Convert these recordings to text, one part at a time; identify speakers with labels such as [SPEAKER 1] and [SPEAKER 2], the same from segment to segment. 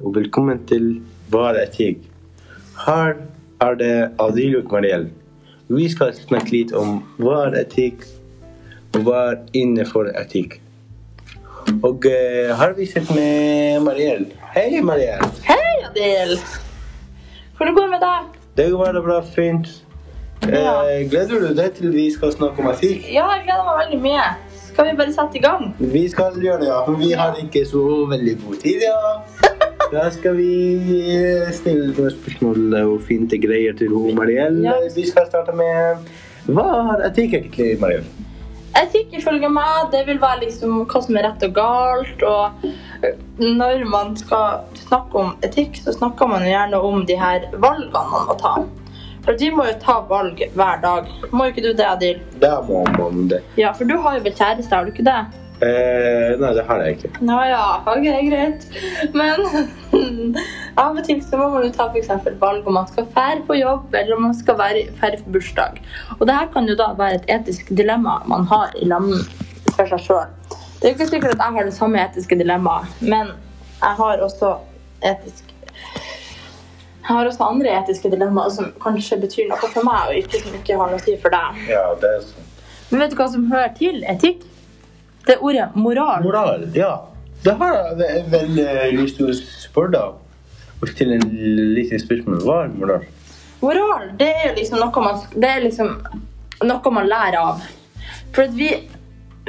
[SPEAKER 1] og velkommen til Hva er etikk? Her er det Adil og Mariel. Vi skal snakke litt om hva er etikk, og hva er innenfor etikk. Og eh, her vi sitter med Mariel. Hei, Mariel.
[SPEAKER 2] Hei, Adil! Hvordan går det med deg?
[SPEAKER 1] Det går veldig bra, fint.
[SPEAKER 2] Ja.
[SPEAKER 1] Eh, gleder du deg til vi skal snakke om etikk?
[SPEAKER 2] Ja, jeg gleder meg veldig mye. Skal vi bare sette i gang?
[SPEAKER 1] Vi skal gjøre det, ja. Men vi har ikke så veldig god tid, ja. Da skal vi stille noen spørsmål og finte greier til hun, Mariell.
[SPEAKER 2] Ja.
[SPEAKER 1] Vi skal starte med Hva har etikk egentlig, Mariell?
[SPEAKER 2] Etikk ifølge meg, det vil være liksom hva som er rett og galt, og eh, når man skal snakke om etikk, så snakker man jo gjerne om de her valgene man må ta. For de må jo ta valg hver dag. Må ikke du det, Adil?
[SPEAKER 1] Der må man det.
[SPEAKER 2] Ja, for du har jo vel kjæreste, har du ikke det?
[SPEAKER 1] Eh, nei, det har jeg ikke.
[SPEAKER 2] Nå ja, ok, greit. Men av og til så må man jo ta for eksempel valg om man skal fære på jobb, eller om man skal være fære for bursdag. Og det her kan jo da være et etisk dilemma man har i land for seg selv. Det er jo ikke sikkert at jeg har det samme etiske dilemmaet, men jeg har også etisk jeg har også andre etiske dilemmaer som kanskje betyr noe for meg, og ikke som ikke har noe å si for deg.
[SPEAKER 1] Ja, det er sånn.
[SPEAKER 2] Men vet du hva som hører til etikk? Det er ordet moral.
[SPEAKER 1] Moral, ja. Det har jeg ve- vel eh, lyst til å spørre deg om. Og stille en liten spørsmål. Hva er moral?
[SPEAKER 2] Moral, det er jo liksom noe man, det er liksom noe man lærer av. For at vi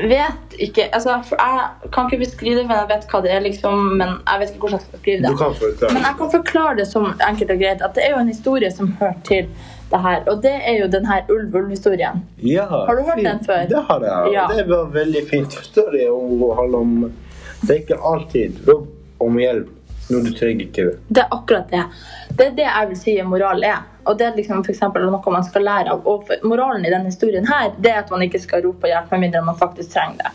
[SPEAKER 2] vet ikke altså, for Jeg kan ikke beskrive det, men jeg vet hva det er. liksom, men Jeg vet ikke hvordan jeg skal beskrive
[SPEAKER 1] Du
[SPEAKER 2] det.
[SPEAKER 1] kan
[SPEAKER 2] Men
[SPEAKER 1] forklare.
[SPEAKER 2] jeg kan forklare det som enkelt og greit, at det er jo en historie som hører til det her. Og det er jo den her ulv-ulv-historien.
[SPEAKER 1] Ja,
[SPEAKER 2] Har du hørt den
[SPEAKER 1] fint.
[SPEAKER 2] før?
[SPEAKER 1] Det har jeg.
[SPEAKER 2] Ja.
[SPEAKER 1] Det var veldig fint historie å handle om Det er ikke alltid rop om hjelp når du trenger ikke det.
[SPEAKER 2] Det er akkurat det. Det er det jeg vil si moral er. Og det er liksom for eksempel noe man skal lære av. Og for- moralen i denne historien her, det er at man ikke skal rope hjelp med mindre man faktisk trenger det.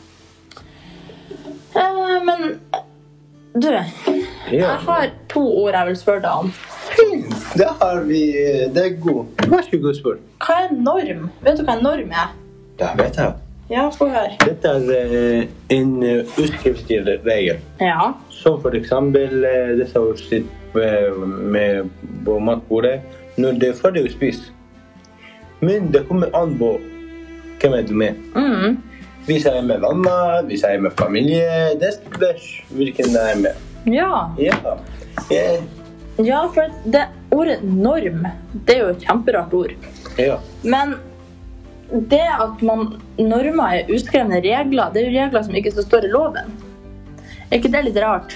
[SPEAKER 2] Eh, men du,
[SPEAKER 1] Ja.
[SPEAKER 2] jeg har to ord jeg vil spørre deg om.
[SPEAKER 1] Fint. Det har vi Det er god. Vær så god, spør.
[SPEAKER 2] Hva er norm? Vet du hva en norm er?
[SPEAKER 1] Det vet jeg.
[SPEAKER 2] Ja, få høre.
[SPEAKER 1] Dette er eh, en eh, uskriftlig regel.
[SPEAKER 2] Ja.
[SPEAKER 1] Som for eksempel eh, det som sitter eh, med på matbordet når det er ferdig å spise. Men det kommer an på hvem er du med.
[SPEAKER 2] Mm.
[SPEAKER 1] Hvis jeg er med venner, hvis jeg er med familie, det spørs hvilken jeg er med.
[SPEAKER 2] Ja.
[SPEAKER 1] Ja. Ja.
[SPEAKER 2] ja, for det ordet norm, det er jo et kjemperart ord.
[SPEAKER 1] ja.
[SPEAKER 2] Men det at man normer er uskrevne regler, det er jo regler som ikke så står i loven. Er ikke det litt rart?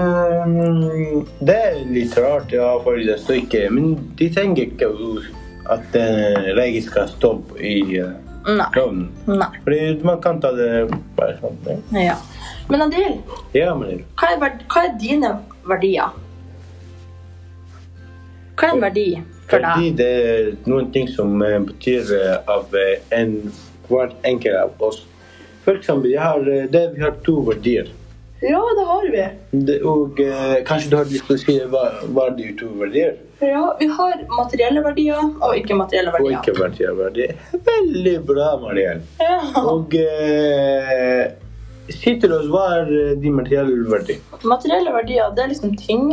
[SPEAKER 1] Ehm, det er litt rart, ja, for det står ikke Men de trenger ikke å- at eh, regel skal stå i eh,
[SPEAKER 2] Nei.
[SPEAKER 1] loven.
[SPEAKER 2] Nei.
[SPEAKER 1] Fordi man kan ta det bare sånn. ja.
[SPEAKER 2] Ja. Men Adil,
[SPEAKER 1] Ja, men
[SPEAKER 2] hva er, verd hva er dine verdier? Hva er en verdi for deg?
[SPEAKER 1] fordi det er noen ting som eh, betyr eh, av eh, en, hver enkelt av oss. For eksempel, jeg har, eh, det, vi har to verdier.
[SPEAKER 2] Ja, det har vi.
[SPEAKER 1] Det, og eh, kanskje du har lyst til å si hva, hva de to verdier
[SPEAKER 2] Ja, Vi har materielle verdier og ikke-materielle
[SPEAKER 1] og
[SPEAKER 2] verdier.
[SPEAKER 1] ikke verdier. verdier. Veldig bra, Mariel.
[SPEAKER 2] Ja.
[SPEAKER 1] Og eh, si til oss hva er eh, de materielle verdier?
[SPEAKER 2] Materielle verdier det er liksom ting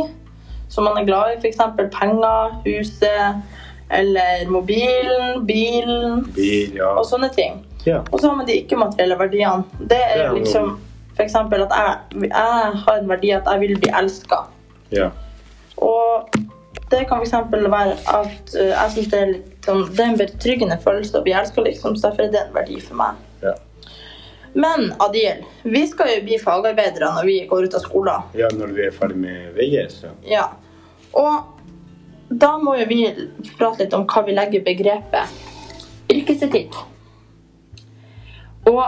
[SPEAKER 2] som man er glad i. F.eks. penger, huset, eller mobilen, bilen
[SPEAKER 1] Bil, ja.
[SPEAKER 2] og sånne ting.
[SPEAKER 1] ja.
[SPEAKER 2] Og så har man de ikke-materielle verdiene. Det
[SPEAKER 1] Ja,
[SPEAKER 2] er
[SPEAKER 1] men-
[SPEAKER 2] liksom f.eks. at jeg, jeg har en verdi at jeg vil bli elska.
[SPEAKER 1] ja.
[SPEAKER 2] Og det kan f.eks. være at eh, jeg synes det er litt sånn Det er en betryggende følelse å bli elska, liksom. Så derfor er det en verdi for meg.
[SPEAKER 1] Ja.
[SPEAKER 2] Men Adil, vi skal jo bli fagarbeidere når vi går ut av skolen.
[SPEAKER 1] ja, når vi er ferdig med VGS. Ja.
[SPEAKER 2] Ja. Og da må jo vi prate litt om hva vi legger i begrepet yrkesetikk. Og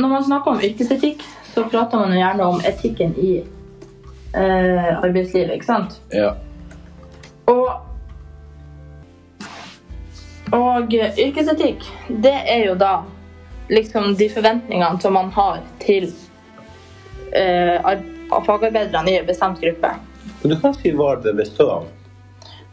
[SPEAKER 2] når man snakker om yrkesetikk, så prater man jo gjerne om etikken i eh, arbeidslivet, ikke sant?
[SPEAKER 1] Ja.
[SPEAKER 2] Og, og yrkesetikk, det er jo da liksom de forventningene som man har til eh, ar- fagarbeiderne i en bestemt gruppe.
[SPEAKER 1] Men du kan si hva det består av.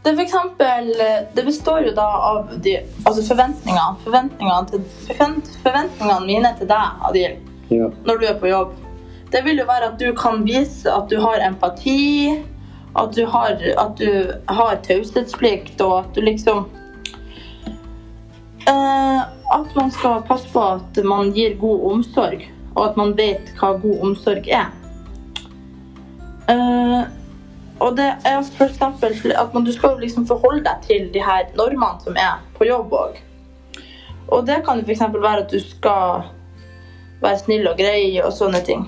[SPEAKER 2] Det, er for eksempel, eh, det består jo da av de, altså forventningene. Forventningene, til, forvent, forventningene mine til deg, Adil,
[SPEAKER 1] Ja.
[SPEAKER 2] når du er på jobb. Det vil jo være at du kan vise at du har empati, at du har, at du har taushetsplikt, og at du liksom eh, At man skal passe på at man gir god omsorg, og at man vet hva god omsorg er. Eh, og det er for eksempel sli- at man, du skal jo liksom forholde deg til de her normene som er på jobb òg. Og det kan jo f.eks. være at du skal være snill og grei og sånne ting.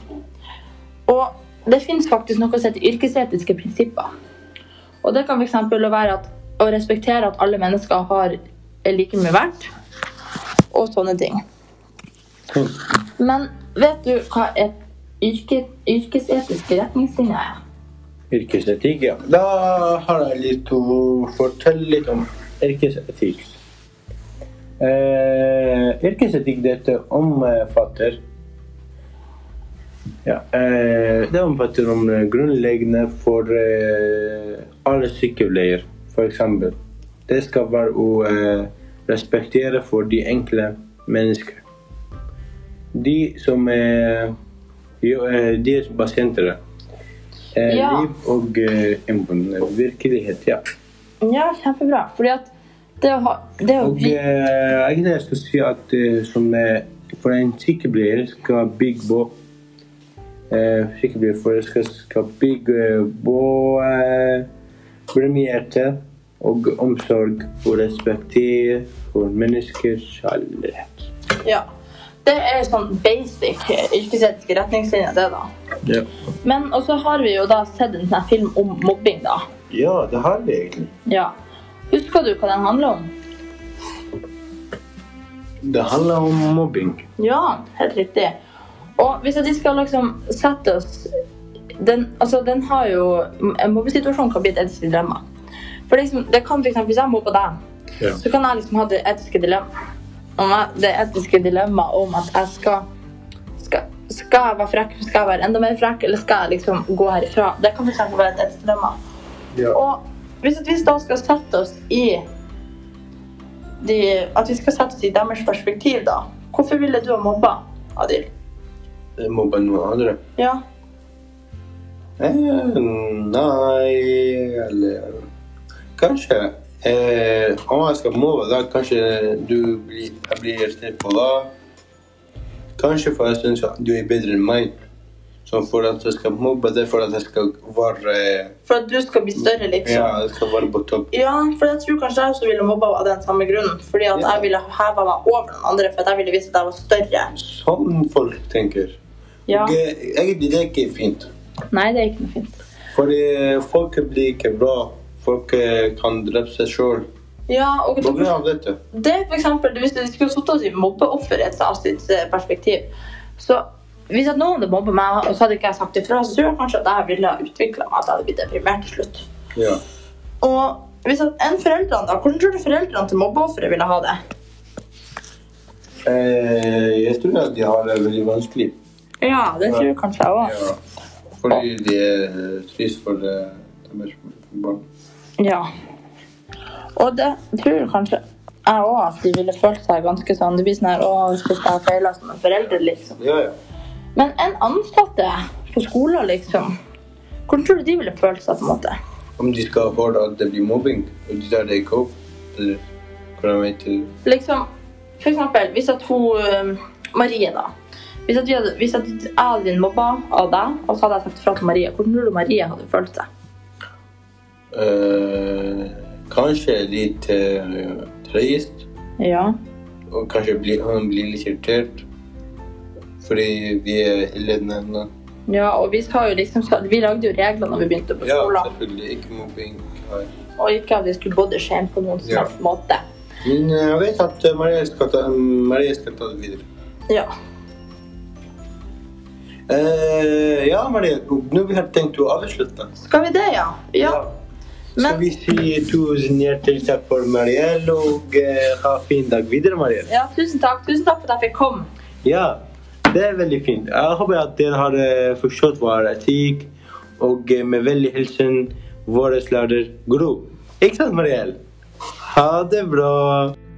[SPEAKER 2] Og det finnes faktisk noe som heter yrkesetiske prinsipper. Og det kan f.eks. være at, å respektere at alle mennesker har er like mye verdt, og sånne ting. Men vet du hva et yrke, yrkesetiske retningslinjer er?
[SPEAKER 1] Yrkesetikk, ja. Da har jeg litt å fortelle litt om yrkesetikk. Eh, yrkesetikk dette omfatter ja, eh, Det omfatter om eh, grunnleggende for eh, alle sykepleiere, f.eks. Det skal være å eh, respektere for de enkle mennesker. De som er jo, eh, de som pasienter. Eh,
[SPEAKER 2] Ja.
[SPEAKER 1] Liv og eh, imponerende virkelighet, ja.
[SPEAKER 2] Ja, kjempebra. Fordi at det å ha det å
[SPEAKER 1] Og
[SPEAKER 2] vi,
[SPEAKER 1] eh, egentlig jeg skal si at eh, som eh, for en sykepleier skal bygge på eh, Sykepleier for skal, skal bygge på eh, premierte og omsorg og respekter for menneskers kjærlighet.
[SPEAKER 2] Ja. Det er sånn basic yrkesetiske retningslinjer, det, da.
[SPEAKER 1] Ja.
[SPEAKER 2] Men og så har vi jo da sett en sånn her film om mobbing, da.
[SPEAKER 1] ja, det har vi egentlig.
[SPEAKER 2] Ja. Husker du hva den handler om?
[SPEAKER 1] Det handler om mobbing.
[SPEAKER 2] Ja, helt riktig. Og hvis at de skal liksom sette oss den, altså den har jo, En mobbesituasjon kan bli et etisk dilemma. For liksom, det kan for eksempel, Hvis jeg mobber deg,
[SPEAKER 1] Ja.
[SPEAKER 2] så kan jeg liksom ha det etiske dilemma om, jeg- det etiske dilemma om at jeg skal, skal Skal jeg være frekk, skal jeg være enda mer frekk, eller skal jeg liksom gå herifra? Det kan for eksempel være et etisk dilemma. Og hvis at vi da skal sette oss i de, At vi skal sette oss i deres perspektiv, da. Hvorfor ville du ha mobba Adil?
[SPEAKER 1] Mobbe noen andre.
[SPEAKER 2] Ja.
[SPEAKER 1] Eh, nei eller Kanskje. Eh, om jeg skal move, da kanskje du blir, jeg blir irritert på deg. Kanskje for jeg syns du er bedre enn meg. Så for at jeg skal mobbe det, er for at jeg skal være
[SPEAKER 2] For at du skal bli større, liksom.
[SPEAKER 1] Ja, jeg skal være på topp.
[SPEAKER 2] Ja, for jeg tror kanskje jeg også ville mobba av den samme grunnen. Fordi at
[SPEAKER 1] Ja.
[SPEAKER 2] jeg ville heva meg over den andre, for at jeg ville vise at jeg var større.
[SPEAKER 1] Sånn folk tenker.
[SPEAKER 2] Ja.
[SPEAKER 1] Og, eh, Egentlig det er ikke fint.
[SPEAKER 2] Nei, det er ikke noe fint.
[SPEAKER 1] For eh, folk blir ikke bra. Folk eh, kan drepe seg sjøl
[SPEAKER 2] Ja, og
[SPEAKER 1] på grunn av dette.
[SPEAKER 2] det er for eksempel, hvis vi skulle satt oss i mobbeofferets Astrids eh, perspektiv, så hvis at noen hadde mobbet meg, og så hadde ikke jeg sagt ifra, så tror jeg kanskje at jeg ville ha utviklet meg, at jeg hadde blitt deprimert til slutt.
[SPEAKER 1] Ja.
[SPEAKER 2] Og hvis at en foreldrene da, hvordan tror du foreldrene til mobbeofferet ville ha det?
[SPEAKER 1] Eh, jeg tror at de har det veldig vanskelig.
[SPEAKER 2] Ja, det
[SPEAKER 1] tror jeg
[SPEAKER 2] kanskje jeg
[SPEAKER 1] Ja. Fordi de er eh, trist for det. De er barn.
[SPEAKER 2] Ja. Og det tror kanskje jeg òg, at de ville følt seg ganske sånn Det blir sånn her Å, hvis jeg feiler som en forelder, liksom.
[SPEAKER 1] Ja, ja.
[SPEAKER 2] Men en ansatte på skolen, liksom. Hvordan tror du de ville følt seg? på en måte?
[SPEAKER 1] Om de skal høre at det blir mobbing, og de tar det ikke opp eller hvordan vet du?
[SPEAKER 2] Liksom, for eksempel, hvis at hun øhm, Marie, da. Hvis at, vi hadde, hvis at jeg hadde blitt mobba av deg, og så hadde jeg sagt fra til Marie, hvordan tror du Marie hadde følt seg?
[SPEAKER 1] Eh, kanskje litt eh, trist,
[SPEAKER 2] Ja.
[SPEAKER 1] og kanskje bli, han blir litt irritert. Fordi vi er ledende ennå.
[SPEAKER 2] Ja, og vi, har jo liksom, vi lagde jo regler når vi begynte på
[SPEAKER 1] Ja,
[SPEAKER 2] skolen.
[SPEAKER 1] selvfølgelig. Ikke mobbing. her.
[SPEAKER 2] Og ikke at vi skulle body shame på noen som
[SPEAKER 1] Ja.
[SPEAKER 2] helst måte.
[SPEAKER 1] Men eh, jeg vet at eh, Maria skal ta, Maria skal ta det videre.
[SPEAKER 2] Ja.
[SPEAKER 1] Eh, ja, Maria. Nå har vi tenkt å avslutte.
[SPEAKER 2] Skal vi det, ja? Ja.
[SPEAKER 1] Så
[SPEAKER 2] Men-
[SPEAKER 1] vi sier tusen hjertelig takk for Mariell, og eh, ha fin dag videre, Mariell.
[SPEAKER 2] ja tusen takk. Tusen takk for at jeg fikk komme.
[SPEAKER 1] Ja, det er veldig fint. Jeg håper at dere har eh, forstått vår etikk, og eh, med vennlig hilsen vår lærer Gro. Ikke sant, Mariell? Ha det bra.